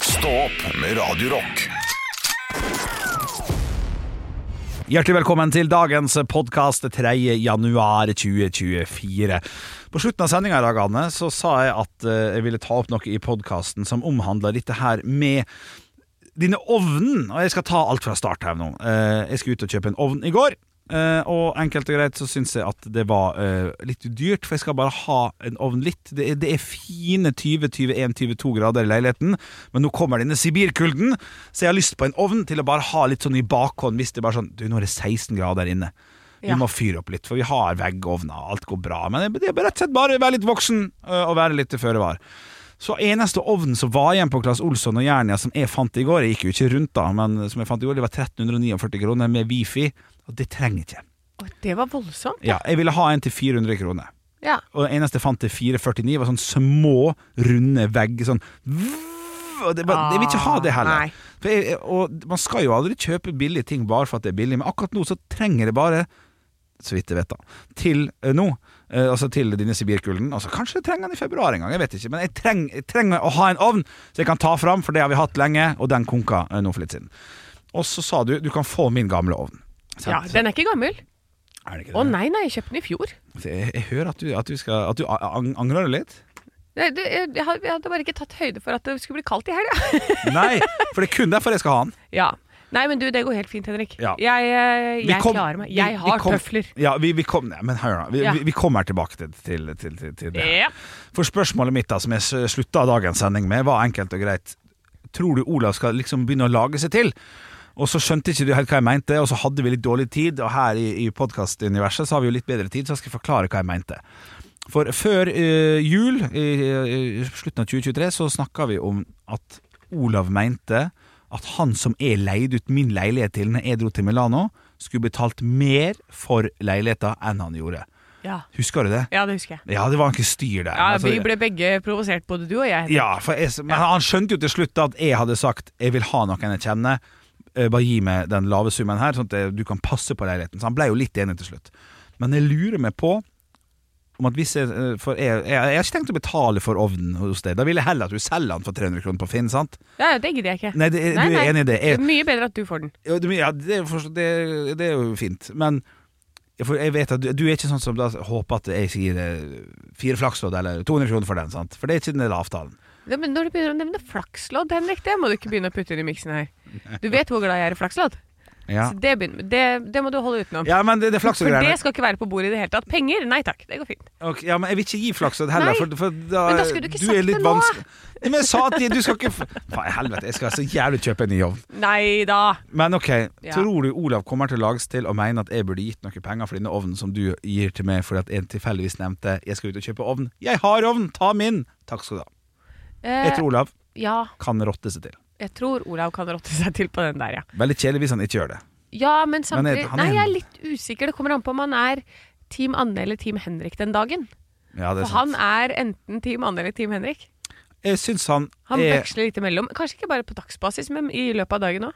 Stå opp med Radio Rock. Hjertelig velkommen til dagens podkast 3. januar 2024. På slutten av sendinga i dag, Anne, så sa jeg at eh, jeg ville ta opp noe i podkasten som omhandler dette her med denne ovnen. Og jeg skal ta alt fra start her nå. Eh, Jeg skulle ut og kjøpe en ovn i går. eh, og enkelt og greit så syns jeg at det var eh, litt dyrt, for jeg skal bare ha en ovn litt. Det er, det er fine 20-21-22 grader i leiligheten, men nå kommer denne sibirkulden, så jeg har lyst på en ovn til å bare ha litt sånn i bakhånd hvis det bare sånn Du, nå er det 16 grader inne. Vi Ja. må fyre opp litt, for vi har veggovner, og alt går bra. Men det er rett og slett bare å være litt voksen eh, og være litt føre var. Så eneste ovnen som var igjen på Claes Olsson og Jernia som jeg fant i går Jeg gikk jo ikke rundt da, men som jeg fant i går, det var 1349 kroner med wifi. Og det trenger jeg ikke. Å, Det var voldsomt. Ja, jeg ville ha en til 400 kroner. Ja. Og det eneste jeg fant til 449, var sånn små, runde vegg. Sånn og det, bare, Jeg vil ikke ha det heller. Ah, Nei. For jeg, og man skal jo aldri kjøpe billige ting bare for at det er billig, men akkurat nå så trenger det bare så vidt jeg vet, da. Til eh, nå. eh, altså til denne sibirkulden. Altså, kanskje jeg trenger den i februar en gang, jeg vet ikke. Men jeg, treng, jeg trenger å ha en ovn så jeg kan ta fram, for det har vi hatt lenge, og den konka eh, nå for litt siden. Og så sa du du kan få min gamle ovn. Ja, Sant? den er ikke gammel. Er det ikke det? Å nei, nei, jeg kjøpte den i fjor. Jeg, jeg hører at du, at du, skal, at du a- ang- angrer litt. Nei, det- Jeg jeg hadde jeg hadde bare ikke tatt høyde for at det skulle bli kaldt i helga. Nei, for det er kun derfor jeg skal ha den. Ja. Nei, men du, det går helt fint, Henrik. Ja. Jeg, eh, Vi jeg kom- klarer meg. vi- Jeg vi har kom- tøfler. Ja, vi, vi, kom, nei, men hør nå, vi, Ja. vi, vi kommer tilbake til, til, til, til, til det. Ja. For spørsmålet mitt da, som jeg s- slutta dagens sending med, var enkelt og greit. Tror du Olav skal liksom begynne å lage seg til? Og så skjønte ikke du helt hva jeg mente, og så hadde vi litt dårlig tid, og her i, i podkastuniverset så har vi jo litt bedre tid, så jeg skal forklare hva jeg mente. For før eh, jul, i, i i slutten av 2023, så snakka vi om at Olav mente at han som jeg leide ut min leilighet til når jeg dro til Milano, skulle betalt mer for leiligheta enn han gjorde. Ja. Husker du det? ja, det husker jeg. Ja, det var en styr der. Ja, Altså, vi ble begge provosert, både du og jeg. ja, for jeg, men han skjønte jo til slutt at jeg hadde sagt Jeg vil ha noen jeg kjenner Eh, Bare gi meg den lave summen her Sånn at eh, du kan passe på leiligheten Så han ble jo litt enig til slutt Men jeg lurer meg på om at hvis jeg, eh, for jeg, jeg, jeg har ikke tenkt å betale for ovnen hos deg Da vil jeg heller at du selger den for 300 kroner på Finn, sant? Ja, ja, det gidder jeg ikke. Nei, det, Nei, du er nei. enig i det Det Jeg, er Mye bedre at du får den. ja, det- ja, det, er for- det, det er jo fint Men jeg- for jeg vet at du, du er ikke sånn som da Håper at jeg sier eh, Fire flakslodd eller 200 kroner for den, sant? For det er ikke den der avtalen Ja, men når du begynner å nevne flakslodd, Henrik, det må du ikke begynne å putte inn i miksen her. Du vet hvor glad jeg er i flakslodd. ja. Så det, begynner, det, det må du holde utenom. Ja, men det, det er flaks og For det greier. skal ikke være på bordet i det hele tatt. Penger? Nei takk, det går fint. Ok, ja, men jeg vil ikke gi flaks og det heller, Nei, for, for da, men da skulle du ikke sagt er litt det nå. vanske- Nei, Men jeg sa at du skal ikke f- Faen, i helvete, jeg skal så jævlig kjøpe en ny ovn. Nei da. Men ok, Ja. tror du Olav kommer til å lages til å mene at jeg burde gitt noen penger for denne ovnen som du gir til meg fordi at en tilfeldigvis nevnte 'jeg skal ut og kjøpe ovn'? Jeg har ovn, ta min! Takk skal du ha. Jeg Eh, tror Olav ja, kan rotte seg til. jeg tror Olav kan rotte seg til på den der, ja. Veldig kjedelig hvis han ikke gjør det. Ja, Men men samtidig er- han er Nei, en- jeg er litt usikker. Det kommer an på om han er Team Anne eller Team Henrik den dagen. Ja, det er For sant. han er enten Team Anne eller Team Henrik. Jeg syns han, Han er veksler litt imellom. Kanskje ikke bare på dagsbasis, men i løpet av dagen òg.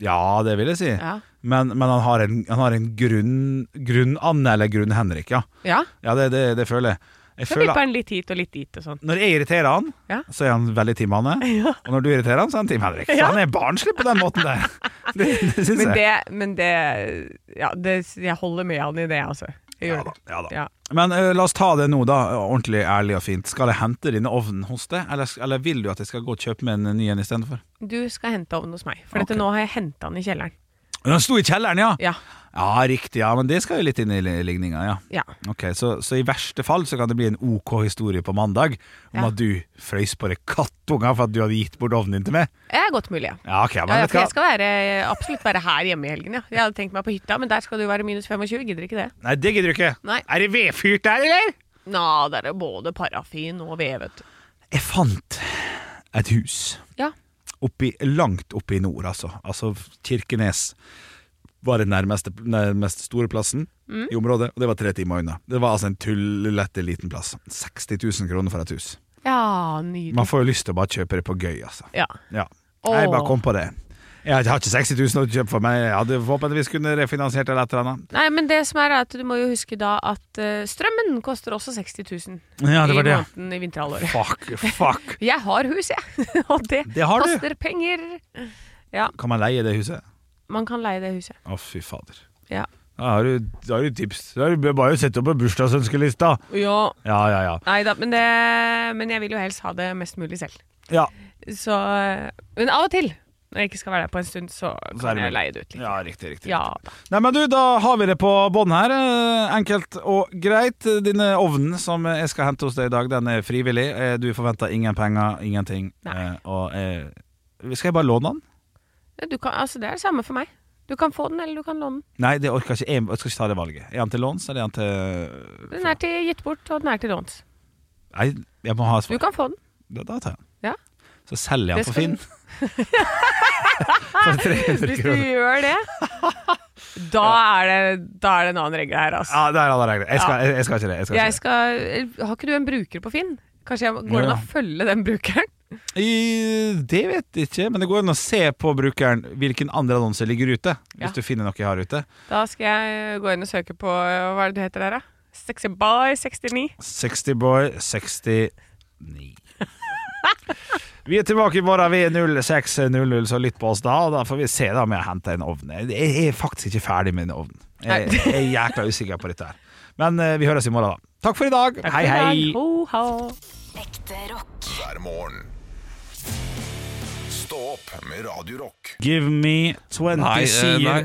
Ja, det vil jeg si. Ja. Men, men han har en, han har en grunn, grunn Anne eller grunn Henrik, ja. ja. Ja, det, det, det føler jeg. jeg Så føler, vipper han litt hit og litt dit og sånn. når jeg irriterer han, Ja. så er han veldig Team Hanne. Ja. Og når du irriterer han, så er han Team Henrik. Så Ja. han er barnslig på den måten der. Det, det syns jeg. Men det, men det Ja, det, jeg holder med han i det, altså. Ja Jeg gjør da, det. ja da. Ja. Men eh, la oss ta det nå, da. Ordentlig ærlig og fint. Skal jeg hente denne ovnen hos deg, eller, eller vil du at jeg skal gå og kjøpe meg en ny en istedenfor? Du skal hente ovnen hos meg, for Ok. dette nå har jeg henta den i kjelleren. Den sto i kjelleren, ja! Ja, Ja, riktig. ja, Men det skal jo litt inn i li- ligninga, ja. ja. Ok, så, så i verste fall så kan det bli en ok historie på mandag om Ja. at du frøys på deg kattunger for at du hadde gitt bort ovnen din til meg. Det er godt mulig, ja. Ja, ok, men Ja, ja, vet du for hva? jeg skal være, absolutt være her hjemme i helgen. Ja. Jeg hadde tenkt meg på hytta, men der skal det jo være minus 25. Gidder ikke det. Nei, det gidder du ikke. Nei. Er det vedfyrt der, eller? Nå, der er både parafin og ved, vet du. Jeg fant et hus Ja. oppi, langt oppe i nord, altså. Altså Kirkenes var den nærmeste, nærmeste store plassen Mm. i området, og det var tre timer unna. Det var altså en tullete liten plass. 60 000 kroner for et hus. Ja, nydelig. Man får jo lyst til å bare kjøpe det på gøy, altså. Ja. Ja. Åh. Jeg bare kom på det. Jeg har ikke 60 000 å kjøpe for meg. Jeg hadde forhåpentligvis kunne refinansiert eller et eller annet. Nei, men det som er er at du må jo huske da at eh, strømmen koster også 60 000 Ja, det var i det. måneden i vinterhalvåret. Fuck, fuck. Jeg har hus, jeg, og det, Det har du. koster penger. Kan man leie det huset? Man kan leie det huset. Å, fy fader. Ja. Da har du, da har du tips. Da har du bare å sette opp på bursdagsønskelista. Ja, Ja, ja, ja. nei da, men, det, men jeg vil jo helst ha det mest mulig selv. Ja, Så eh, Men av og til, når jeg ikke skal være der på en stund, Så så er kan det mulig. jeg leie det ut litt. ja riktig, riktig. Ja da. Nei, men du, da har vi det på bånn her. eh, Enkelt og greit. Denne ovnen som jeg skal hente hos deg i dag, den er frivillig. Eh, Du forventer ingen penger, ingenting. Nei. Eh, Og eh, Skal jeg bare låne den? Ja, Du kan, altså, det er det samme for meg. Du kan få den, eller du kan låne den. Nei, det orker jeg ikke. Jeg- Jeg skal ikke ta det valget. Er den til låns, eller er den til Den er til gitt bort, og den er til låns. Nei, jeg må ha et Du svar. kan få den. Da, da tar jeg den. Ja. Så selger jeg den på Det skal du- Finn. For 300 Hvis du kroner. gjør det, da er det, da er det en annen regel her, altså. Ja, det er alle regler. Jeg skal, jeg, jeg skal ikke det. Jeg skal ikke Jeg det. skal, eh, har ikke du en bruker på Finn? Kanskje jeg, Går det an Ja. å følge den brukeren? I, det vet jeg ikke, men det går an å se på brukeren hvilken andre annonser ligger ute. Ja. Hvis du finner noe jeg har ute. Da skal jeg eh, gå inn og søke på eh, Hva er det du heter der, da? Sexyboy69? 60boy69. Vi er tilbake i morgen ved 06.00, så lytt på oss da. Og da får vi se da om jeg henter en ovn. Jeg er faktisk ikke ferdig med en ovn. Jeg, jeg er jækla usikker på dette her. Men eh, vi høres i morgen, da. Takk for i dag. hei, hei. Ho, ho. Ekte rock. hver morgen. Stå opp med Radio Rock. Give me 20 Nei, eh, seer. nei,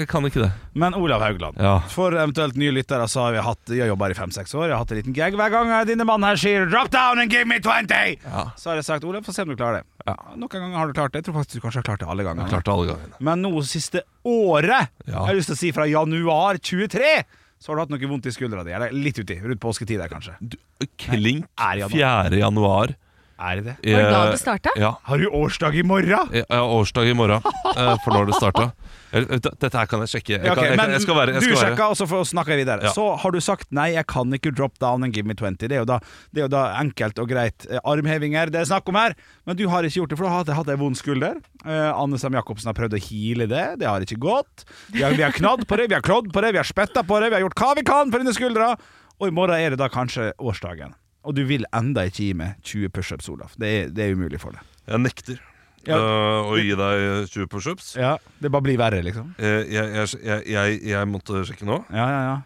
jeg kan ikke det. Men Olav Haugland, Ja. for eventuelt nye lyttere så har vi hatt Jeg jobber her i fem-seks år, jeg har hatt en liten gag. Hver gang denne mannen her sier 'drop down and give me 20', Ja. så har jeg sagt 'Olav, få se om du klarer det'. Ja. Noen ganger har du klart det. Jeg tror faktisk du kanskje har klart det alle ganger. Jeg klarte alle gangene. Men nå siste året, Ja. jeg har lyst til å si fra januar 23, så har du hatt noe vondt i skuldra di. Eller litt uti. Rundt påsketid der, kanskje. Du, klink Nei, er i januar. 4. januar. Er det det? Var det da Eh, det starta? Ja. Har du årsdag i morgen? Jeg har årsdag i morgen eh, for når det starta. Dette her kan jeg sjekke. Jeg, Ja, ok, kan, jeg, men kan, jeg skal være, jeg du skal være. sjekka, og så får- snakker vi videre. Ja. Så har du sagt nei, jeg kan ikke drop down and give me 20. Det er jo da, det er jo da enkelt og greit eh, armhevinger det er snakk om her, men du har ikke gjort det, for du har hatt- hatt ei vond skulder. Eh, Anne Sem Jacobsen har prøvd å heale det, det har ikke gått. Vi har, vi har knadd på det, vi har klådd på det, vi har spytta på det, vi har gjort hva vi kan for denne skuldra, og i morgen er det da kanskje årsdagen. Og du vil enda ikke gi meg 20 pushups, Olaf. Det er, det er umulig for deg. Jeg nekter Ja. eh, å gi deg 20 pushups. Ja, Det bare blir verre, liksom. Eh, Jeg, jeg, jeg, jeg, jeg måtte sjekke nå, Ja, ja, ja.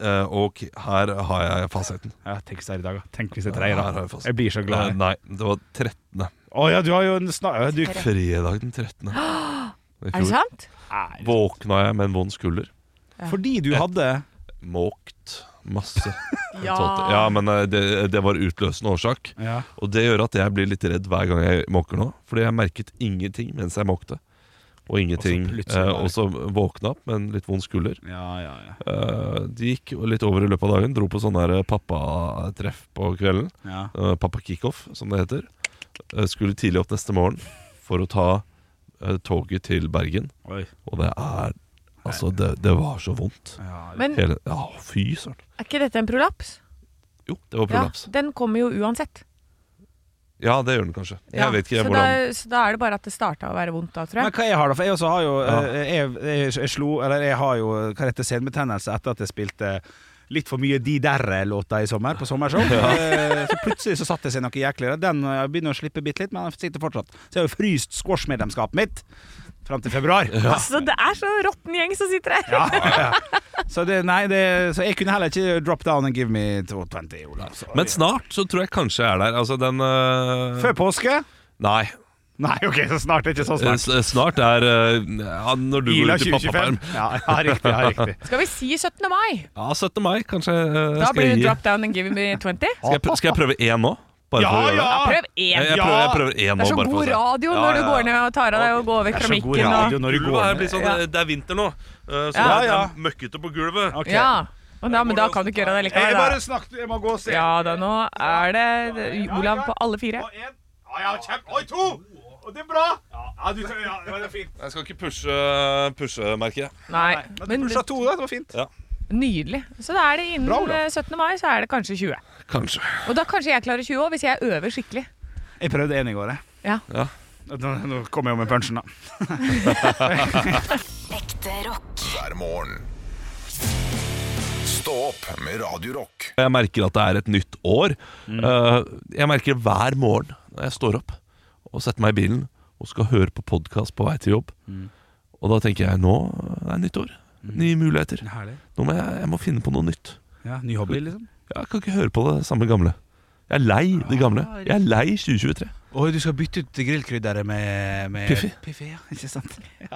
eh, og her har jeg fasiten. ja tenk hvis det er i dag, da. Tenk hvis det er tre, Her har da. jeg fasiten. Jeg blir så glad. Eh, Nei, det var 13. Å ja, du har jo en snar... Ja, du... Fredag den 13. I Er det fjor sant? Nei, Våkna jeg med en vond skulder. Fordi du hadde Måkt masse. Ja. ja men eh, det, det var utløsende årsak. ja. Og det gjør at jeg blir litt redd hver gang jeg måker nå. Fordi jeg merket ingenting mens jeg måkte. Og ingenting. Og så plutselig eh, bare- Og så våkna opp med en litt vond skulder. Ja, ja, ja. Eh, det gikk jo litt over i løpet av dagen. Dro på sånne her pappatreff på kvelden. ja. Eh, Pappa kickoff, som det heter. Eh, skulle tidlig opp neste morgen for å ta eh, toget til Bergen. Oi. Og det er Altså, det, det var så vondt. Ja, Men Hele Ja, fy søren. er ikke dette en prolaps? Jo, det var prolaps. Ja, den kommer jo uansett. Ja, det gjør den kanskje. Jeg Ja, vet ikke så, hvordan da, så da er det bare at det starta å være vondt da, tror Men jeg. hva jeg har da, for jeg også har jo Ja. eh, jeg, jeg, jeg slo, eller jeg har jo eh, Hva heter det, senbetennelse etter at jeg spilte Litt for mye De Derre-låta i sommer, på sommershow. Eh, Så plutselig så satte det seg noe jækligere. Den eh, begynner å slippe bitte litt, men den sitter fortsatt. Så jeg har jo fryst squash-medlemskapet mitt fram til februar. Altså, det er så råtten gjeng som sitter her! Ja, ja. Så, det, nei, det, så jeg kunne heller ikke drop down and give me 220, Olav. Så- Men snart så tror jeg kanskje jeg er der. Altså den øh, Før påske? Nei. Nei, ok, så snart. Ikke så Eh, snart. s- Snart er øh, ja, Når du Ila går ut i 2025. pappaperm. Ja, ja, riktig. Ja, riktig. Skal vi si 17. mai? Ja, 17. mai, kanskje. øh, Da skal, blir jeg det gi. drop down and give me 20. skal, jeg, pr- skal jeg prøve én nå? Bare Ja, for å gjøre det? ja! Prøv Ah! Jeg, én. jeg Ja! prøver, jeg prøver én Det nå. er så bare for å god se. radio Ja, når du ja, går ned og tar av deg og går Det vekk er fra så god mikken. radio Og, når du Gulvet går her blir ned. sånn, Ja. eh, Det er vinter nå, eh, så Ja, det er- ja. det er møkkete på gulvet. Ok. ja. Og da, men da kan du ikke gjøre det Jeg likevel. bare Da. snakket, jeg må gå og se. Ja da, nå er det Olav på alle fire. Og en. Ja, ja, kjempe. Oi, to! Og det er bra! Ja, du, ja det var fint. Jeg skal ikke pushe, pushe merker jeg. Nei, Men men du sa to, da. Det var fint. nydelig. Så da er det innen Bra, Olav. eh, 17. mai, så er det kanskje 20. Kanskje. Og da kanskje jeg klarer 20 år, hvis jeg øver skikkelig. Jeg prøvde en i går, jeg. Ja. Ja. Nå, nå kom jeg jo med punchen, da. Ekte rock. hver morgen. Stå opp med Radio Rock. Jeg merker at det er et nytt år. Mm. Eh, Jeg merker det hver morgen når jeg står opp og setter meg i bilen og skal høre på podkast på vei til jobb. Mm. Og da tenker jeg nå er det nytt år. Nye muligheter. Herlig. Nå må jeg, jeg må finne på noe nytt. Ja, Ny hobby, liksom? Jeg kan ikke høre på det samme gamle. Jeg er lei det gamle. Jeg er lei 2023. Og du skal bytte ut grillkrydderet med, med Piffi. ja, ikke sant? Jeg,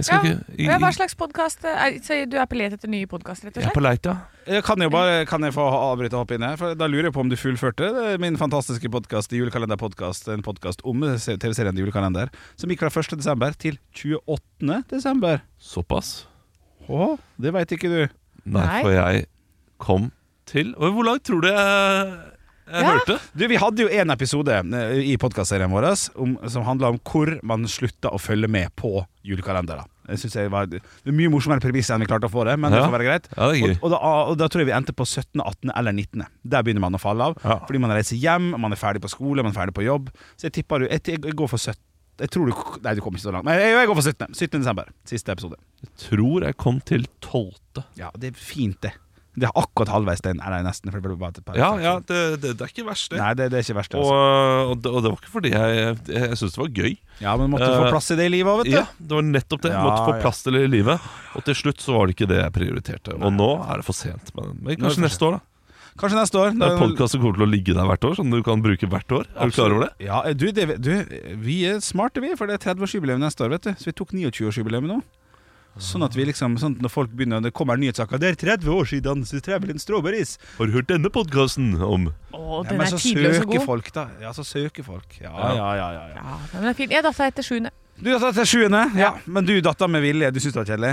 skal Ja, ikke, Ja, hva slags podkast Du er på let etter nye podkaster, rett og jeg er slett? på leit, ja. Eh, Kan jeg, bare, kan jeg få avbryte og hoppe inn her? For Da lurer jeg på om du fullførte eh, min fantastiske podkast, julekalenderpodkast, en podkast om eh, se- TV-serien Julekalender, som gikk fra 1. desember til 28. desember. Såpass. Å, det veit ikke du. Nei, Nei. for jeg kom til Og Hvor langt tror du jeg, jeg Ja. hørte? Du, Vi hadde jo en episode eh, i podkastserien vår om, som handla om hvor man slutta å følge med på julekalendere. Jeg synes jeg var, det er Mye morsommere premiss enn vi klarte å få det, men det Ja. får være greit. Ja, det er Og, gøy. og, da, og da tror jeg vi endte på 17., 18. eller 19. Der begynner man å falle av. Ja. Fordi man reiser hjem, man er ferdig på skole, man er ferdig på jobb. Så jeg tipper du Jeg, jeg går for 17. Jeg tror du Nei, du kommer ikke så langt. Men jeg, jeg går for 17. 17. desember. Siste episode. Jeg tror jeg kom til tolvte. Ja, det er fint, det. Det er akkurat halvveis den. Eller nesten. For det ble bare et par Ja, ja, det, det, det er ikke verst, det. Nei, det, det er ikke verst. Og, Altså. og, det, og det var ikke fordi jeg, jeg, jeg syntes det var gøy. Ja, men måtte du få Eh, plass i det i livet òg, vet du. Ja, det var nettopp det. Jeg måtte Ja, få ja. plass til det i livet. Og til slutt så var det ikke det jeg prioriterte. Og nå er det for sent. Men, Nå er men det for kanskje neste år, da. Kanskje neste år. Det er da- podkast som kommer til å ligge der hvert år, som du kan bruke hvert år. Er du klar over det? Ja, eh, du, det, du, vi er smarte, vi, for det er 30-årsjubileum neste år, vet du. Så vi tok 29-årsjubileum nå. Sånn at vi liksom, sånn at når folk begynner Det kommer nyhetssaker 'Det er 30 år siden så trevlig en strawberries'. Har du hørt denne podkasten om Å, Ja, den men er så tidlig og så søker god. folk, da. Ja, så søker folk. Ja, ja, ja. ja, ja. Ja, den er fin. Jeg datt etter sjuende. Du datta til sjuende. Ja. Men du datta med vilje. Du syns det var kjedelig?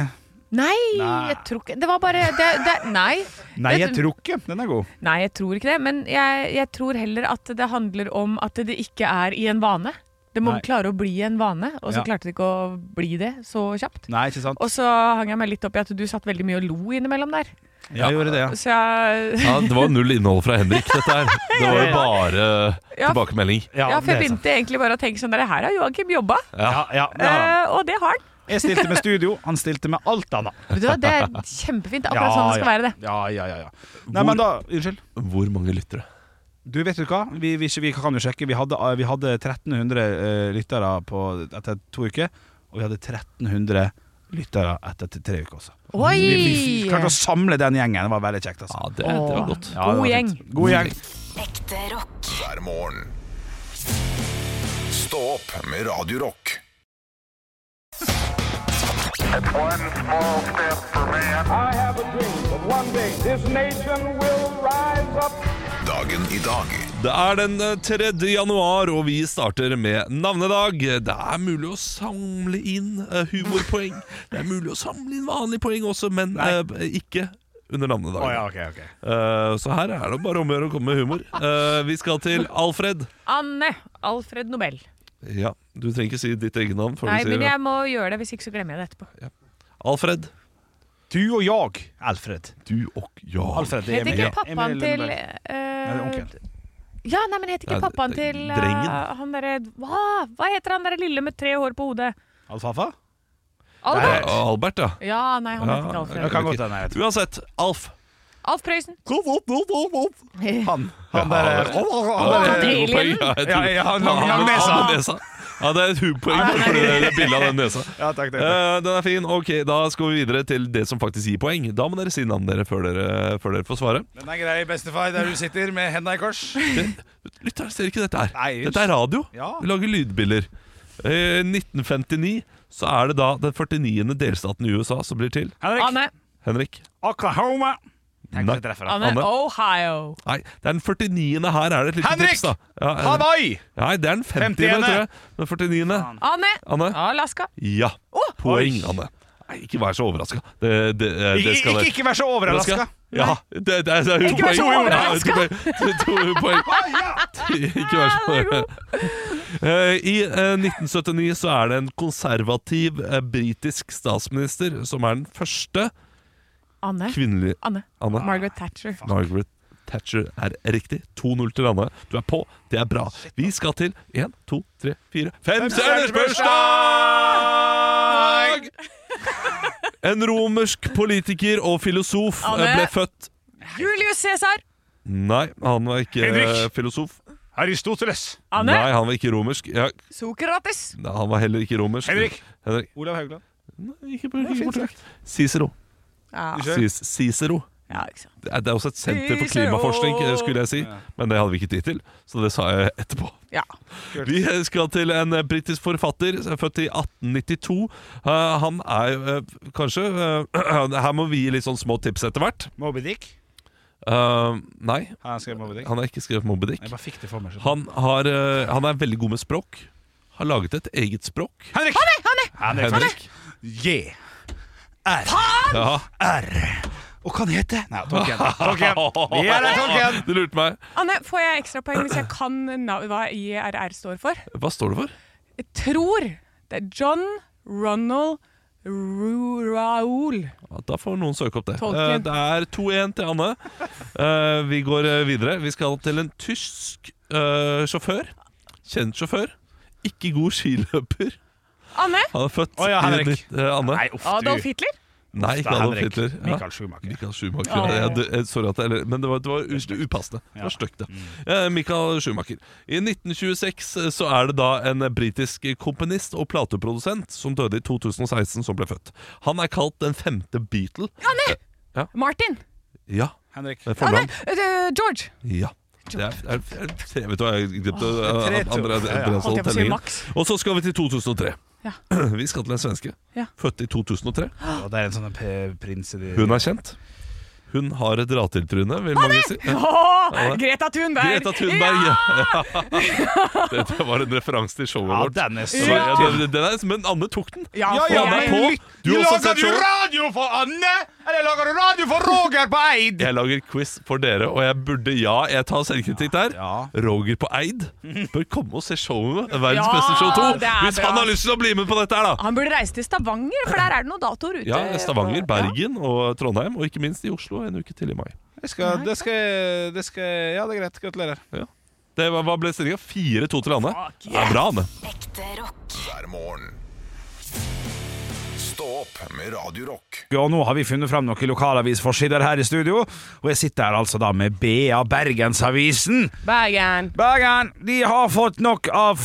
Nei, Nei. jeg tror ikke Det var bare det, det, Nei. Nei, Det- jeg tror ikke. Den er god. Nei, jeg tror ikke det. Men jeg, jeg tror heller at det handler om at det ikke er i en vane. Det må Nei. klare å bli en vane, og så Ja. klarte det ikke å bli det så kjapt. Nei, ikke sant? Og så hang jeg meg litt opp i at du satt veldig mye og lo innimellom der. Jeg gjorde det, ja. Så jeg Ja, det var null innhold fra Henrik, dette her. Det var jo bare Ja. tilbakemelding. Ja, for jeg det er sant. begynte egentlig bare å tenke sånn der, Her har Joakim jobba, Ja, ja, det har han. eh, og det har han. Jeg stilte med studio, han stilte med alt annet. Vet du hva, Det er kjempefint. Det er Akkurat Ja, sånn det skal ja. være, det. Ja, ja, ja, ja. Nei, men da Unnskyld. Hvor mange lyttere? Du, vet du hva? Vi, vi, vi kan jo sjekke. Vi hadde, vi hadde 1300 eh, lyttere på, etter to uker, og vi hadde 1300 lyttere etter t- tre uker også. Vi, vi f- klarte å Oi! samle den gjengen. Det var veldig kjekt. Altså. Ja, det, det var godt. Ja, det var God gjeng. fint. God gjeng. Ekte rock. hver morgen. Stå opp med Radio Rock. I have a dream that one day this nation will rise up. Dagen i dag Det er den eh, 3. januar, og vi starter med navnedag. Det er mulig å samle inn eh, humorpoeng. Det er mulig å samle inn vanlige poeng også, men eh, ikke under navnedagen. Å, ja, ok, ok. Eh, så her er det bare om å gjøre å komme med humor. Eh, vi skal til Alfred. Anne Alfred Nobel. Ja, Du trenger ikke si ditt eget navn. før Nei, du men sier jeg må gjøre det, hvis ikke så glemmer jeg det etterpå. Alfred. Du og jeg, Alfred. Du og ja. Alfred det er Heter Emil- ikke pappaen Emil til Lundberg. Nei, det er eh, onkel. Ja, nei, men heter Ja, ikke pappaen det- til eh, drengen. han derre hva, hva heter han derre lille med tre hår på hodet? Alfafa? Nei, Albert? Eh, Albert, ja. Ja, nei, han heter ikke Det Ja, Alfred. kan godt hende. jeg vet. Uansett, Alf. Alf Prøysen. Han, han der Ja, han der- Alfred. Alien. Ja, jeg tror- Ja, ja, han Ja, lang, lang men- nesa. ja, men nesa. Ja, det er et humorpoeng bare fordi det er bildet av den nesa. Ja, takk, takk, takk. Eh, den er fin. Ok, Da skal vi videre til det som faktisk gir poeng. Da må dere si navnet dere før dere, før dere får svare. Den er grei, bestefar, der du sitter med henda i kors. Lytteren ser ikke dette her. Nei, dette er radio. Ja. Vi lager lydbilder. Eh, 1959 så er det da den 49. delstaten i USA som blir til. Henrik. Anne. Henrik? Oklahoma. Tenk Nei. om jeg treffer han. Anne. Anne. Ohio. Nei, det er den 49. Her er det et lite Henrik! tips, da. Ja, Henrik. Hawaii! Nei, det er den 50. 51. tror jeg. Den 49. Anne. Anne? Alaska. Ja. Poeng, Anne. Nei, ikke vær så overraska. Det, det, eh, det Ikke, skal ikke, være ikke vær så overraska. Ja, det, det, det er jo Ikke vær så poeng. overraska. Ja, to- to- to poeng. Ikke vær så overraska. I eh, 1979 så er det en konservativ eh, britisk statsminister som er den første Anne. kvinnelige Anne. Anne Margaret Thatcher. Margaret Thatcher er riktig. 2-0 til landet. Du er på, det er bra. Vi skal til 1, 2, 3, 4, 5 stjerners bursdag! En romersk politiker og filosof eh, Anne. ble født Julius Cæsar! Nei, han var ikke eh, Henrik. filosof. Aristoteles. Anne. Nei, han var ikke romersk. Ja, Sokrates! han var heller ikke romersk. Henrik. Henrik. Olav Haugland. Nei, ikke, på- ikke borte vekk. Cicero. Ja, Cis- Cicero. ja ikke sant. Det er det er også et senter for Cicero. klimaforskning, eh, skulle jeg si. Men det hadde vi ikke tid til, så det sa jeg etterpå. Ja. Vi skal til en eh, britisk forfatter, eh, født i 1892. Eh, Han er jo, eh, kanskje eh, Her må vi gi litt sånn små tips etter hvert. Moby Dick. Eh, Nei, Har han skrevet Moby Dick? han har ikke skrevet Moby Jeg Dick. bare fikk det for meg. så- Han, har, eh, han er veldig god med språk. Har laget et eget språk. Henrik! Henrik. J. Ja. Og hva han heter Nei, Tolkien. Vi er der, Tolkien. Du lurte meg. Anne, får jeg ekstrapoeng hvis jeg kan nav- hva IRR står for? Hva står det for? Jeg tror det er John Ronald Ru- Raoul. Ja, da får noen søke opp det. Tolkien. Eh, Det er 2-1 til Anne. Eh, Vi går eh, videre. Vi skal til en tysk eh, sjåfør. Kjent sjåfør. Ikke god skiløper. Anne? Han er født Å ja, i Henrik. nitt- eh, Anne. Nei, uff, Adolf du. Hitler? Nei, ikke Det er Adolf Henrik. Hitler. Ja. Michael Schumacher. Michael Schumacher. Ja, det- eh, sorry at jeg, eller- men det var, det var just upassende. Det var stygt, det. Eh, Michael Schumacher. I 1926 så er det da en britisk komponist og plateprodusent som døde i 2016, som ble født. Han er kalt den femte Beatle. Martin? Ja, Henrik. det er Anne? fornavn. eh, George? Ja. Det er, er, er, se, vet du hva, jeg tre, glemte to. andre- Ja, ja. andre- Holdt jeg på å si tellingen. Max? Og så skal vi til 2003. Ja. Vi skal til en svenske. Ja. Født i 2003. Og det er en sånn p- prins i de Hun er kjent. Hun har et dra-til-tryne, vil mange si. Ja. Åh, Greta Thunberg! Greta Thunberg! Ja. Dette var en referanse til showet Ja, vårt. den er så Så, ja, den, den er, liksom- men Anne tok den. Ja, Ja, for ja, Anne er jeg- på. Du har også Lager sett du showet. radio for Anne, eller lager du radio for Roger på Eid? Jeg lager quiz for dere, og jeg burde ja, jeg tar selvkritikk der. Ja. Roger på Eid bør komme og se showet Verdens Ja, beste show 2. det er Hvis han bra. har lyst til å bli med på dette her, da. Han burde reise til Stavanger, for der er det noen datoer ute. Ja, Stavanger, på- Bergen og Trondheim, og ikke minst i Oslo en uke til i mai. Jeg skal, det, skal, jeg- det skal jeg- Ja, det er greit. Gratulerer. Det var, hva ble stillinga? 4-2 til Anne. Fuck Det er bra, Anne. Ekte rock. hver morgen. Stå opp med Radio Rock. Og nå har vi funnet fram noen lokalavisforsider her i studio. Og jeg sitter her altså da med BA Bergensavisen. Bergen. Bergen, de har fått nok av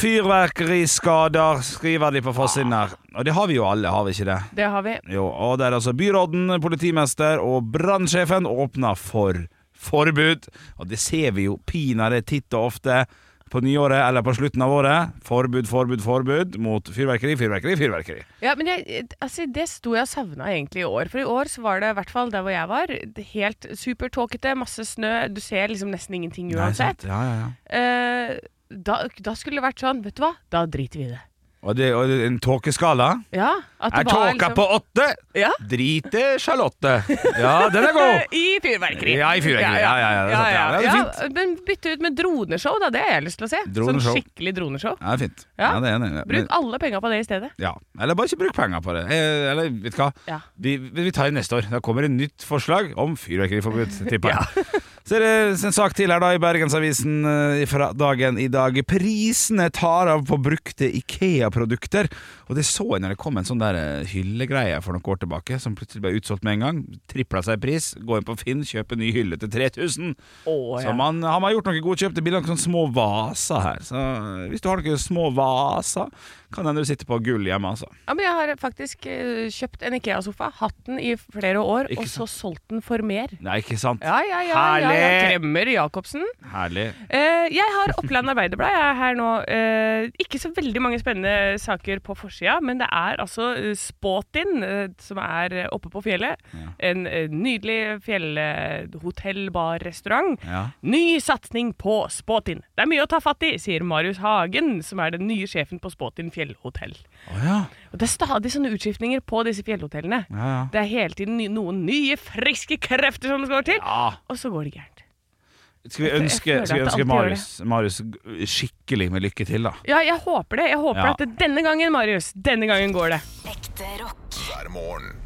fyrverkeriskader, skriver de på forsiden her. Og det har vi jo alle, har vi ikke det? Det har vi. Jo, og der altså byråden, politimester og brannsjefen åpner for forbud. Og det ser vi jo pinadø titt og ofte på nyåret eller på slutten av året. Forbud, forbud, forbud mot fyrverkeri, fyrverkeri, fyrverkeri. Ja, men jeg, altså, det sto jeg og savna egentlig i år. For i år så var det, i hvert fall der hvor jeg var, det helt supertåkete, masse snø. Du ser liksom nesten ingenting uansett. Ja, ja, ja. Eh, da, da skulle det vært sånn, vet du hva, da driter vi i det. Og, det, og en tåkeskala. Ja, at det liksom- Er tåka på åtte? Ja. Drite Charlotte. Ja, den er god. I fyrverkeri. Ja, i fyrverkeri. Ja, ja, ja, det er sant, ja. Ja, det er Men bytte ut med droneshow, da. Det har jeg lyst til å se. Droneshow. Sånn skikkelig droneshow. Ja, det er fint. Ja. det er enig. Bruk alle penga på det i stedet. Ja, Eller bare ikke bruk penger på det. Eh, Eller vet du hva? Ja. Vi, vi tar det neste år. Da kommer det nytt forslag om fyrverkeriforbud. tipper jeg. Så er det en sak til her da i Bergensavisen eh, fra dagen i dag. Prisene tar av på brukte Ikea-produkter. Og det så jeg når det kom en sånn der eh, hyllegreie for noen år tilbake, som plutselig ble utsolgt med en gang. Tripla seg i pris. Gå inn på Finn, kjøp en ny hylle til 3000. Så man, har man gjort noen gode kjøp, det blir noen sånne små vaser her. Så eh, hvis du har noen små vaser, kan hende du sitter på gull hjemme, altså. Ja, men jeg har faktisk eh, kjøpt en Ikea-sofa, hatt den i flere år, Ikke og så solgt den for mer. Nei, ikke sant? Ja, ja, ja. ja, ja. Herlig! Kremmer Jacobsen. Herlig. Eh, jeg har Oppland Arbeiderblad. Jeg er her nå. Eh, ikke så veldig mange spennende saker på forsida, men det er altså eh, Spåtin, eh, som er eh, oppe på fjellet. En eh, nydelig fjellhotell, bar, restaurant. Ja. Ny satsing på Spåtin. Det er mye å ta fatt i, sier Marius Hagen, som er den nye sjefen på Spåtin fjellhotell. Å ja. Og det er stadig sånne utskiftninger på disse fjellhotellene. Ja, ja. Det er hele tiden ny, noen nye, friske krefter som skal til, ja. og så går det gærent. Skal vi Jeg ønske, føler at skal vi det ønske alltid Marius, Marius skikkelig med lykke til, da? Ja, jeg håper det. Jeg håper Ja. at det, denne gangen, Marius, denne gangen går det. Ekte rock. hver morgen.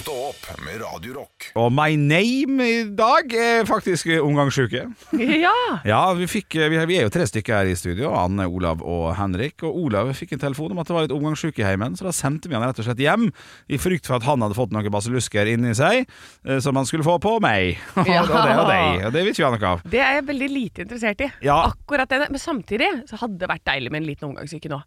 Stå Stå opp med Radio Rock. Og my name i dag er faktisk omgangsuke. Ja! Ja, vi, fikk, eh, vi vi er jo tre stykker her i studio, Anne, Olav og Henrik. Og Olav fikk en telefon om at det var litt omgangssyke i heimen, så da sendte vi han rett og slett hjem. I frykt for at han hadde fått noen basillusker inni seg, eh, som han skulle få på meg. Ja. og det og deg. Og det vet vi han ikke av. Det er jeg veldig lite interessert i. Ja. Akkurat denne. Men samtidig så hadde det vært deilig med en liten omgangssyke nå.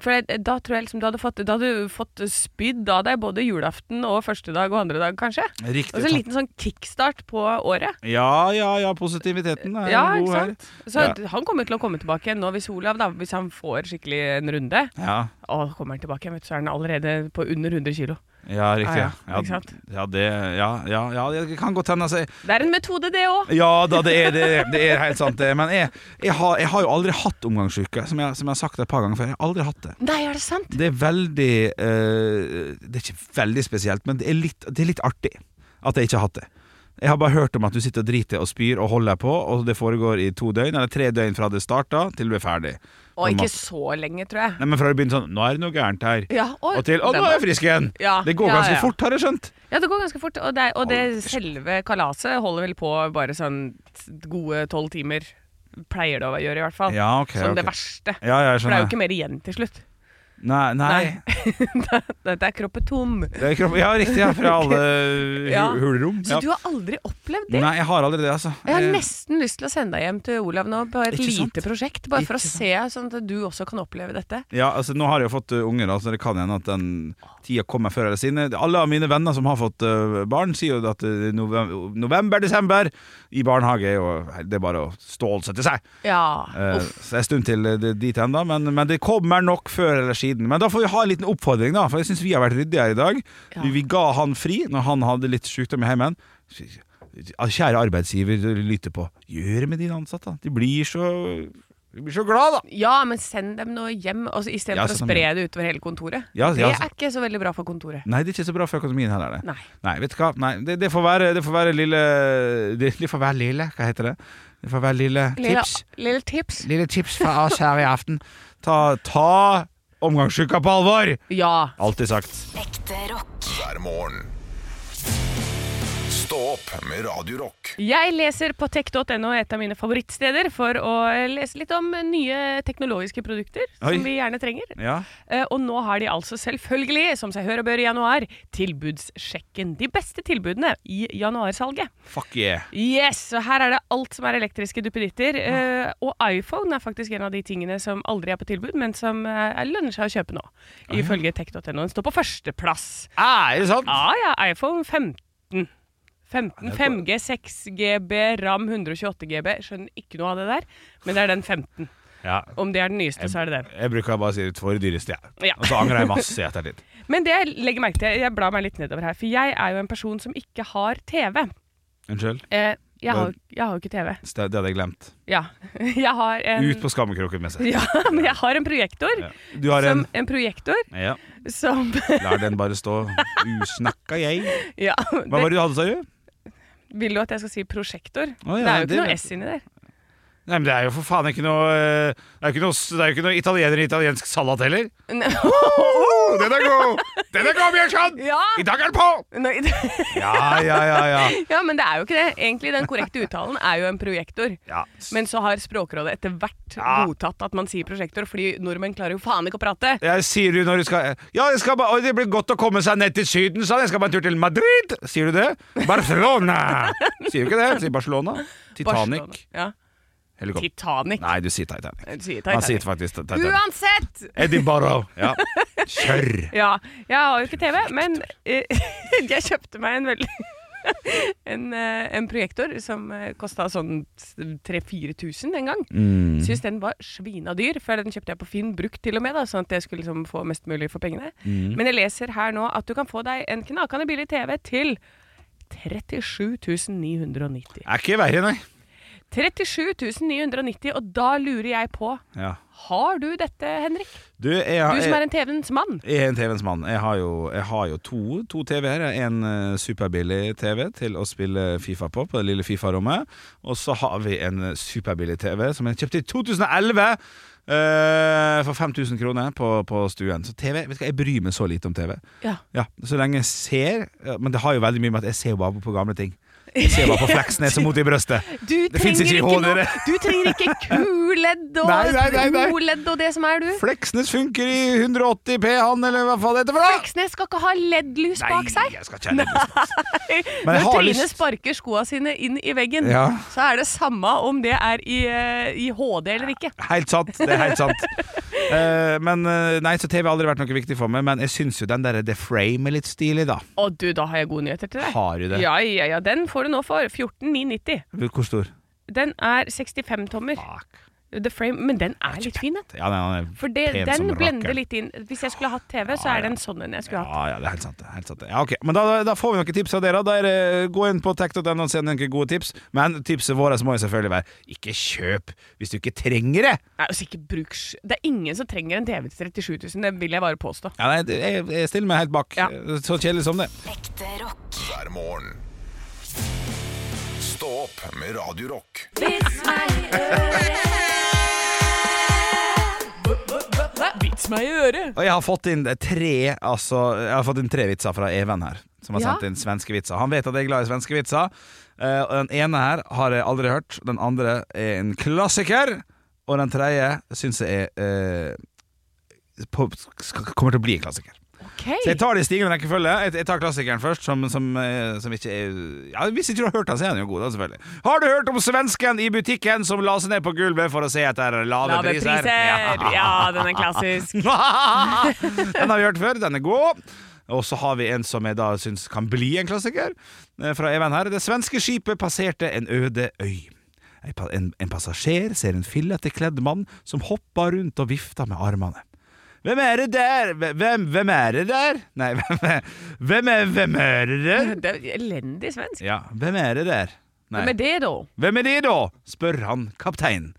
For jeg- da tror jeg liksom du hadde fått, da hadde du fått spydd av deg både julaften og første dag og andre dag, kanskje. Riktig. Og så en liten sånn kickstart på året. Ja, ja, ja, positiviteten er Ja, god ikke her. sant? Så han kommer til å komme tilbake igjen nå hvis Olav, da, hvis han får skikkelig en runde. Ja, Å, kommer han tilbake igjen, vet du, så er han allerede på under 100 kilo. ja, riktig. Ja, Ja, ja, ikke sant? ja, det, ja, ja, ja, det kan godt hende. Altså, Det er en metode, det òg. Ja da, det er, det, er- det er helt sant det. Men jeg, jeg, har, jeg har jo aldri hatt omgangssyke, som jeg, som jeg har sagt et par ganger før. Jeg har aldri hatt det. Nei, er det sant? Det er veldig eh, Det er ikke veldig spesielt, men det er litt, det er litt artig at jeg ikke har hatt det. Jeg har bare hørt om at du sitter og driter og spyr og holder på, og det foregår i to døgn, eller tre døgn fra det starta til du er ferdig. Og ikke Normalt. så lenge, tror jeg. Nei, men fra det begynner sånn Nå er det noe gærent her. Ja, og, Og til Å, nå er jeg frisk igjen! Ja, det går ja, ganske ja. fort, har jeg skjønt. Ja, det går ganske fort. Og det, og det selve kalaset holder vel på bare sånn gode tolv timer. Pleier det å gjøre, i hvert fall. Ja, ok, Som det ok. verste. Ja, ja, jeg For det er jo skjønner. ikke mer igjen til slutt. Nei, nei. Dette er kroppen tom. Det er kropp... Ja, riktig. Ja, fra alle hu- Ja. hulrom. Så Ja. du har aldri opplevd det? Nei, jeg har aldri det, altså. Jeg har Eh, nesten lyst til å sende deg hjem til Olav nå på et Ikke sant? lite prosjekt. Bare for å Ikke se, sånn at du også kan oppleve dette. Ja, altså Nå har jeg jo fått uh, unger, da, så det kan hende at den tida kommer før eller siden. Alle av mine venner som har fått uh, barn, sier jo at uh, november-desember i barnehage er jo Det er bare å stålsette seg. Ja. Eh, Uff. så det er en stund til det- dit ennå, men, men det kommer nok før eller siden. Men da får vi ha en liten oppfordring, da, for jeg syns vi har vært ryddige her i dag. Ja. Vi, vi ga han fri når han hadde litt sykdom i heimen. Kjære arbeidsgiver, du lytter på. Gjør det med dine ansatte. da. De blir så, de blir så glad, da. Ja, men send dem nå hjem altså, istedenfor Ja, for å send dem spre det utover hele kontoret. Ja, det ja, altså. er så- ikke så veldig bra for kontoret. Nei, det er ikke så bra for økonomien heller. Det. Nei. Nei, vet du hva? Nei, det, det, får være, det får være lille det, det får være lille, hva heter det? Det får være lille Lille tips. lille tips. Lille tips fra oss her i aften. Ta, ta omgangssyka på alvor! Ja. Alltid sagt. Ekte rock. hver morgen. Stå opp med Radio Rock. Jeg leser på tech.no, et av mine favorittsteder, for å lese litt om nye teknologiske produkter Oi. som vi gjerne trenger. Ja. Eh, Og nå har de altså selvfølgelig, som seg hør og bør i januar, tilbudssjekken. De beste tilbudene i januarsalget. Fuck yeah. Yes, så her er det alt som er elektriske duppeditter. eh, og iPhone er faktisk en av de tingene som aldri er på tilbud, men som eh, lønner seg å kjøpe nå. Ifølge tech.no. Den står på førsteplass. Ah, er det sant? Ja ja, iPhone 15. 15, 5G, 6GB, RAM 128GB. Skjønner ikke noe av det der, men det er den 15. Ja. Om det er den nyeste, så er det den. Jeg bruker bare å si det for det dyreste, jeg. Ja. Og så angrer jeg masse i ettertid. Men det jeg legger merke til, jeg blar meg litt nedover her, for jeg er jo en person som ikke har TV. Unnskyld? Eh, jeg, har, jeg har jo ikke TV. Det det hadde jeg glemt. Ja. Jeg har en Ut på skammekroken med seg. Ja, men jeg har en projektor. Ja. Du har en Som, en projektor Ja. som Lær den bare stå. Usnakka jeg. Ja, Hva det, var det du hadde, sa du? vil du at jeg skal si prosjektor? Å, ja, det er jo det ikke noe vet S inni der. Nei, men Det er jo for faen ikke noe eh, Det er jo ikke noe, det er jo ikke noe italiener i italiensk salat heller. Nei. Oh, den er god! Den er god, Bjørnson! Ja! I dag er den på! Nei, det- Ja, ja, ja. ja. ja, men det er jo ikke det. Egentlig Den korrekte uttalen er jo en projektor. ja. Men så har Språkrådet etter hvert Ja. godtatt at man sier prosjektor, fordi nordmenn klarer jo faen ikke å prate. Jeg sier du når du skal Ja, jeg skal bare, oi, det blir godt å komme seg ned til Syden, sa han. Jeg skal bare en tur til Madrid. Sier du det? Barcelona! Sier du ikke det? Sier Barcelona. Barcelona. Titanic. Ja. Helikopter. Titanic. Nei, du sier Titanic. Du sier Han sier Titanic. faktisk Titanic. Uansett! Eddie Barrow. Ja. Kjør! Ja, jeg har jo ikke TV, men eh, jeg kjøpte meg en veldig en, eh, en projektor som uh, kosta sånn 3000-4000 en gang. Syns den var svina dyr, for den kjøpte jeg på Finn brukt til og med, da, sånn at jeg skulle liksom få mest mulig for pengene. Men jeg leser her nå at du kan få deg en knakende billig TV til 37.990 Er ikke verre, nei. 37.990, og da lurer jeg på Ja. Har du dette, Henrik? Du, jeg, Du som jeg- er en TV-ens mann. Jeg er en TV-ens mann. Jeg har jo, jeg har jo to, to TV-er. En eh, superbillig TV til å spille Fifa på, på det lille Fifa-rommet. Og så har vi en eh, superbillig TV som jeg kjøpte i 2011. eh, for 5000 kroner på, på stuen. Så TV, vet du hva, jeg bryr meg så lite om TV. Ja. Ja, Så lenge jeg ser ja, Men det har jo veldig mye med at jeg ser jo bare på gamle ting. Jeg ser bare på Fleksnes og mot i brøstet. Du Det finnes ikke i trenger ikke, HD, noe, det. du trenger ikke kuledd og Nei, nei, nei, nei. oledd og det som er, du. Fleksnes funker i 180 P, han, eller hva faen det heter for noe! Fleksnes skal ikke ha LED-lys bak Nei, seg. jeg skal ikke ha det. Men jeg Når har Trine lyst- sparker skoa sine inn i veggen, Ja. så er det samme om det er i, eh, i HD eller ikke. Helt sant. Det er helt sant. Eh, men eh, nei, så TV har aldri vært noe viktig for meg, men jeg syns jo den der The Frame er litt stilig, da. Å du, da har jeg gode nyheter til deg. Har du det? Ja, ja, ja. Den får du nå for 14990. Hvor stor? Den er 65 tommer. The Frame, men den er litt fin, den. Ja, nei, han er For det, pen som den rakkeren. blender litt inn. Hvis jeg skulle hatt TV, så Ja, er ja. det en sånn en jeg skulle hatt. Ja, ja, det er helt sant. det er Helt sant. det. Ja, ok. Men da, da får vi noen tips av dere. Da er det, eh, gå inn på tech.no og send noen gode tips. Men tipset vårt må jo selvfølgelig være ikke kjøp hvis du ikke trenger det. Nei, altså ikke bruk sj- Det er ingen som trenger en TV til 37 000, det vil jeg bare påstå. Ja, nei, det- jeg, jeg stiller meg helt bak. Eh, Ja. Så kjedelig som det. Ekte rock. hver morgen. Stå opp med Radio Rock. Vits meg i øret. Og jeg har fått inn tre altså, Jeg har fått inn tre vitser fra Even her, som har Ja. sendt inn svenske vitser. Han vet at jeg er glad i svenske vitser. Eh, og den ene her har jeg aldri hørt. Den andre er en klassiker. Og den tredje syns jeg er eh, på, skal, kommer til å bli en klassiker. Så jeg tar det i stigende rekkefølge. Jeg, jeg tar klassikeren først, som, som, eh, som ikke er ja, Hvis ikke du har hørt den, så er den jo god, da, selvfølgelig. Har du hørt om svensken i butikken som la seg ned på gulvet for å se etter lave, Lave priser. Ja, den er klassisk. den har vi hørt før, den er god. Og så har vi en som jeg da syns kan bli en klassiker, eh, fra Even her. Det svenske skipet passerte en øde øy. Ei pa- En, en passasjer ser en fillete kledd mann som hopper rundt og vifter med armene. Hvem er det der? Hvem, hvem er det der? Nei, hvem er, hvem er, hvem er det der? Det er elendig svensk. Ja, hvem er det der? Nei. Hvem er det, da? Hvem er det da? spør han kapteinen.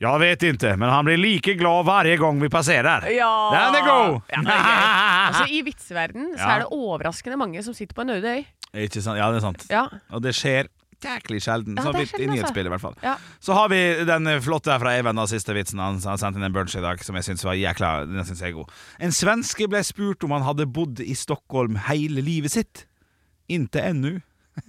Jeg vet ikke, men han blir like glad hver gang vi passerer. Ja. Den er god! Ja, den er gøy. altså, I vitseverden så Ja. er det overraskende mange som sitter på en øde øy. Ikke sant? Ja, det er sant. Ja. Og det skjer jæklig sjelden. Ja, så det er vidt i sjelden, altså. nyhetsbildet, i hvert fall. Ja. Så har vi den eh, flotte her fra Even, da, siste vitsen han han sendte inn en bunch i dag, som jeg syns var jækla den synes jeg er god. En svenske ble spurt om han hadde bodd i Stockholm hele livet sitt. Inntil ennå.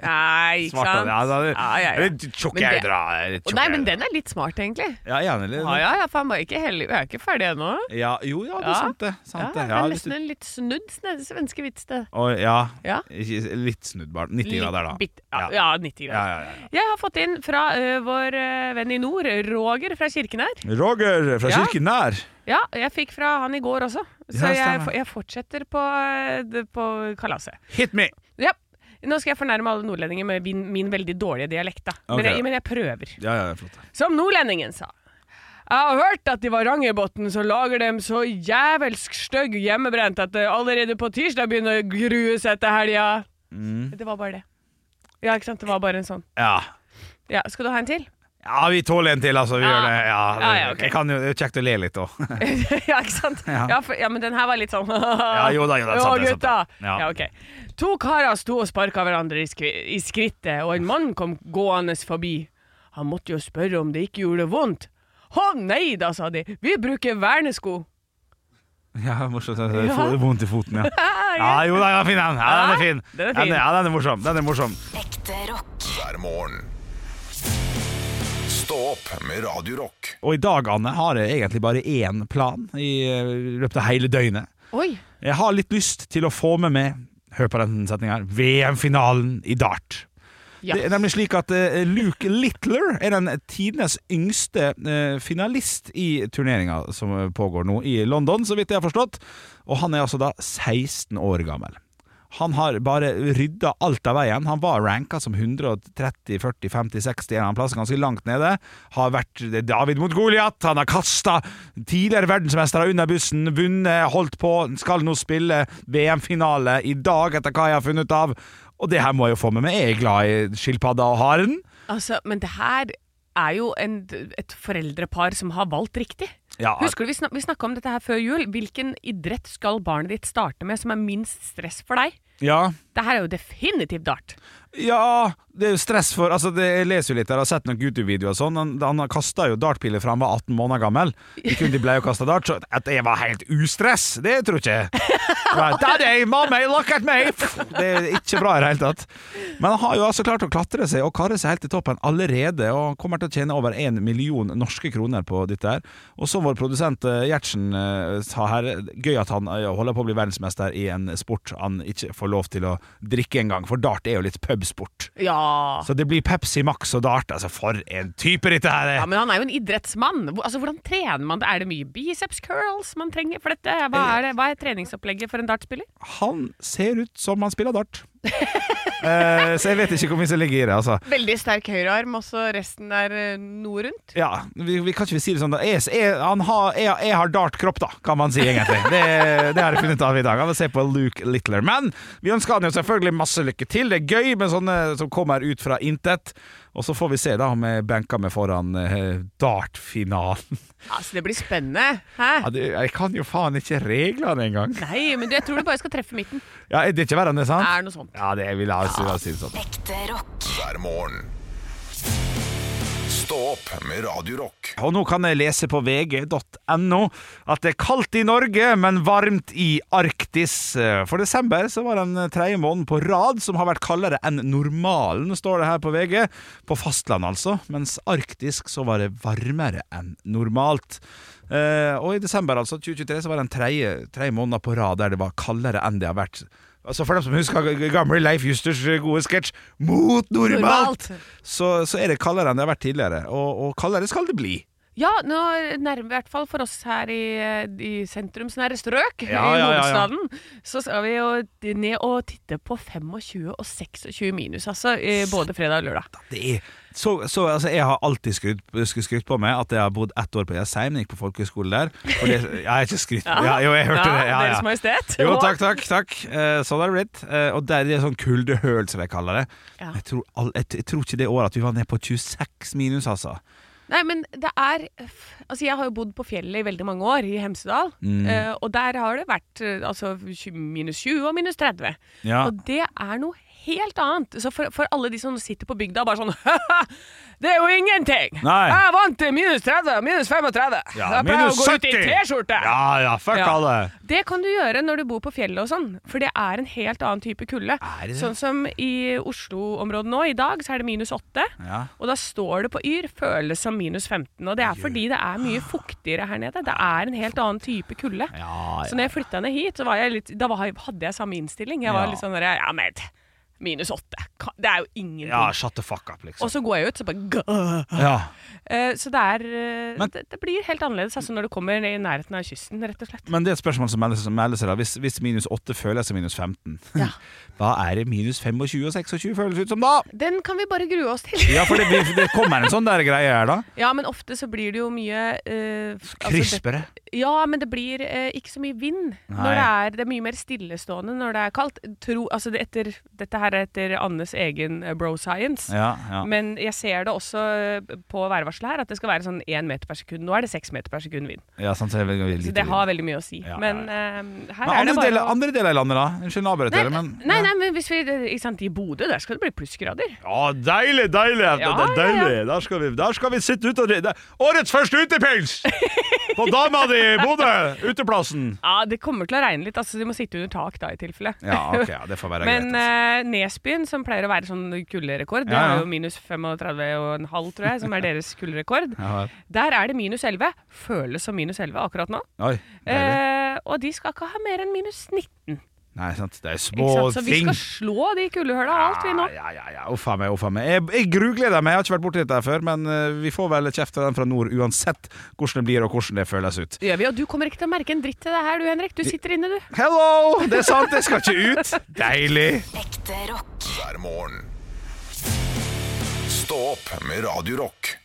Nei, ikke Svarte han. sant? Ja, da, det, Ja, ja, ja. Litt tjukke Men det- øyne. Å, Nei, men den er litt smart, egentlig. Ja, gjerne litt. Ja, ja, ja, faen, bare ikke heldig. Jeg er ikke ferdig ennå. Ja, jo, ja, det Ja. er sant, det. Ja, Sant, det det. er litt, nesten en litt snudd sne- svenske vits, det. og, ja, Ja. ikke- litt snudd, bare. 90 Litt grader, da. bitt- ja, ja, Ja. 90 Ja, grader. ja, ja. Jeg har fått inn fra ø, vår ø, venn i nord, Roger fra Kirkenær. Roger fra Ja. Kirkenær. Ja, jeg fikk fra han i går også, så Ja, jeg, stemmer. f- jeg fortsetter på, ø, det- på kalaset. Hit me! Ja. Nå skal jeg fornærme alle nordlendinger med min, min veldig dårlige dialekt, da. Ok. Men, jeg, men jeg prøver. Ja, ja, flott. Som nordlendingen sa. Jeg har hørt at i Varangerbotn så lager dem så jævelsk stygg hjemmebrent at det allerede på tirsdag begynner å grue seg til helga. Mm. Det var bare det. Ja, ikke sant. Det var bare en sånn. Ja. Ja, skal du ha en til? Ja, vi tåler en til, altså. Vi Ja. gjør det. Ja, Ja, ja, ok. Jeg kan jo, det er jo kjekt å le litt òg. ja, ikke sant? Ja. for, ja, men den her var litt sånn Ja, jo da, jo da, det er sant, det er sant, gutta. det. Ja. Ja. ok. To karer sto og sparka hverandre i, skri i skrittet, og en mann kom gående forbi. Han måtte jo spørre om det ikke gjorde vondt. Å nei da, sa de. Vi bruker vernesko. Ja, morsomt. Det Ja. får vondt i foten, ja. Ja, Ja, jo da, ja, fin den. Ja, den er fin. Den er fin. Den er, ja, den er morsom. Den er morsom. Ekte rock. hver morgen. Stå opp med Radio Rock. Og i dag, Anne, har jeg egentlig bare én plan i eh, løpet av hele døgnet. Oi. Jeg har litt lyst til å få med meg Hør på den setninga her. VM-finalen i dart. Ja. Det er nemlig slik at eh, Luke Littler er den tidenes yngste eh, finalist i turneringa som eh, pågår nå i London, så vidt jeg har forstått. Og han er altså da 16 år gammel. Han har bare rydda alt av veien. Han var ranka som 130, 40, 50, 60 en eller annen plass, ganske langt nede. Har vært David mot Goliat. Han har kasta tidligere verdensmestere under bussen, vunnet, holdt på. Skal nå spille VM-finale i dag, etter hva jeg har funnet ut av. Og det her må jeg jo få med meg. Jeg er glad i skilpadda og haren. Altså, men det her er jo en, et foreldrepar som har valgt riktig. Ja, Husker du, Vi, snak, vi snakka om dette her før jul. Hvilken idrett skal barnet ditt starte med som er minst stress for deg? ja. Det her er jo definitivt dart. Ja, det er jo stress for altså det, Jeg leser jo litt der, jeg har sett noen YouTube-videoer og sånn. Han, han kasta jo dartpiler fra han var 18 måneder gammel. Ikke om de ble å kaste dart, så at jeg var helt ustress, det tror ikke jeg. Right, Daddy, mommy, look at me! Det er ikke bra i det hele tatt. Men han har jo altså klart å klatre seg og karre seg helt til toppen allerede, og han kommer til å tjene over én million norske kroner på dette her. Og som vår produsent eh, Gjertsen eh, sa her, gøy at han eh, holder på å bli verdensmester i en sport han ikke får lov til å drikke engang, for dart er jo litt pubsport. Ja. Så det blir Pepsi Max og dart. Altså, for en type dette her ja, er! men han er jo en idrettsmann. Hvor- Altså, Hvordan trener man det? Er det mye biceps curls man trenger for dette? Hva er, det, hva er treningsopplegget for en dartspiller? Han ser ut som han spiller dart. Eh, så jeg vet ikke hvor mye som ligger i det, altså. Veldig sterk høyrearm, og så resten eh, er noe rundt. Ja, vi, vi kan ikke si det sånn. da. Jeg, jeg, han har, jeg, jeg har dart-kropp, da, kan man si, egentlig. Det, det har jeg funnet av i dag. Jeg vil se på Luke Littler. Men vi ønsker han jo selvfølgelig masse lykke til. Det er gøy med sånne som kommer ut fra intet. Og så får vi se da om jeg benker meg foran eh, dart-finalen. Altså, Det blir spennende. Hæ? Ja, det, jeg kan jo faen ikke reglene engang. Nei, men du, jeg tror du bare skal treffe midten. Ja, er det ikke verre enn det, sant? Er det noe sånt. Ja, det vil jeg si, jeg si det sånn. Ekte rock. hver morgen. Stå opp med Radio Rock. Og nå kan jeg lese på vg.no at det er kaldt i Norge, men varmt i Arktis. For desember så var det en tredje måned på rad som har vært kaldere enn normalen, står det her på VG. På fastlandet, altså. Mens arktisk så var det varmere enn normalt. Eh, og i desember altså, 2023 så var det en tredje, tredje måned på rad der det var kaldere enn det har vært. Altså For dem som husker g- gamle Leif Justers eh, gode sketsj 'Mot normalt', Normalt. Så, så er det kaldere enn det har vært tidligere. Og, og kaldere skal det bli. Ja, nå nærmer vi i hvert fall for oss her i, eh, i sentrumsnære strøk Ja, i ja, ja, ja. hovedstaden. Så skal vi jo ned og titte på 25 og 26 minus, altså. i Både fredag og lørdag. Det er så, så altså, Jeg har alltid skrytt, skulle skrytt på meg at jeg har bodd ett år på Jessheim, gikk på folkehøyskole der. Og det, jeg har ikke skrytt ja, Jo, jeg hørte det. Ja, Deres ja. Majestet. Jo, Og- takk, takk. takk Eh, Sånn har det blitt. Eh, Og der er det sånn kuldehøl, som jeg kaller det. Ja. Jeg, tror, all- jeg, jeg tror ikke det året at vi var ned på 26 minus, altså. Nei, men det er f- Altså, jeg har jo bodd på fjellet i veldig mange år, i Hemsedal. Mm. eh, og der har det vært eh, altså tj- minus 20 og minus 30. Ja. Og det er noe helt annet. Så for, for alle de som sitter på bygda og bare sånn «Haha, Det er jo ingenting! Nei. Jeg er vant til minus 30 og minus 35. Ja, jeg pleier minus å gå ut i 70. T-skjorte! Ja ja, fuck Ja. alle. Det kan du gjøre når du bor på fjellet og sånn, for det er en helt annen type kulde. Er det det? Sånn som i Oslo-området nå, i dag så er det minus 8, Ja. og da står det på Yr føles som minus 15, og det er fordi det er mye fuktigere her nede. Det er en helt annen type kulde. Ja, Så når jeg flytta ned hit, så var jeg litt, da var, jeg- hadde jeg samme innstilling. Jeg var Ja. litt sånn der, ja, men minus 8, ka- det er jo ingenting. ja, shut the fuck up, Og liksom. så går jeg ut, så bare «Gah!» Ja. Eh, Så det er eh, Men- det, det blir helt annerledes altså, når du kommer i nærheten av kysten, rett og slett. Men det er et spørsmål som melder, som melder seg da. Hvis, hvis minus 8 føles som minus 15, Ja. hva er det minus 25 og 26 føles ut som da? Den kan vi bare grue oss til. Ja, for det, vi- det kommer en sånn der greie her, da. Ja, men ofte så blir det jo mye eh, altså det- Krispere. ja, men det blir eh, ikke så mye vind. Nei. Når det, er, det er mye mer stillestående når det er kaldt. Tro, altså det etter, dette her er etter Annes egen eh, bro science. Ja, ja. Men jeg ser det også eh, på værvarselet her, at det skal være sånn én meter per sekund. Nå er det seks meter per sekund vind. ja sant, så, jeg vil- jeg vil Så lite det vite. har veldig mye å si. Ja, men ja, eh, her men er andre, det bare deler, å- andre deler av landet, da? Unnskyld, avbrøt Nei, dere, men nei, nei, men hvis vi, ikke sant, i Bodø, der skal det bli plussgrader. Ja, deilig, deilig! Ja, det er deilig. Der, skal vi, sitte ute og drikke Årets første utepils! På dama di i Bodø! Uteplassen. Ja, det kommer til å regne litt. Altså, du må sitte under tak da, i tilfelle. Ja, ok, ja, det får være Men greit. altså. eh, Nesbyen, som pleier å være sånn kulderekord, det Ja, ja. er jo minus 35,5, tror jeg, som er deres kulderekord. Ja, Der er det minus 11. Føles som minus 11 akkurat nå. Altså. Oi, deilig. Eh, og de skal ikke ha mer enn minus 19. Nei, sant, det er Ikke små sant? Så vi ting. skal slå de kuldehøla alt, vi nå. Ja, ja, ja, ja. Uffa meg, uffa meg. Jeg, jeg grugleder meg. Jeg har ikke vært borti dette her før, men eh, vi får vel kjeft av den fra nord uansett hvordan det blir og hvordan det føles ut. Det gjør vi, og du kommer ikke til å merke en dritt til det her, du Henrik. Du sitter inne, du. Hello! Det er sant, jeg skal ikke ut. Deilig. Ekte rock. hver morgen. Stå opp med Radio Rock.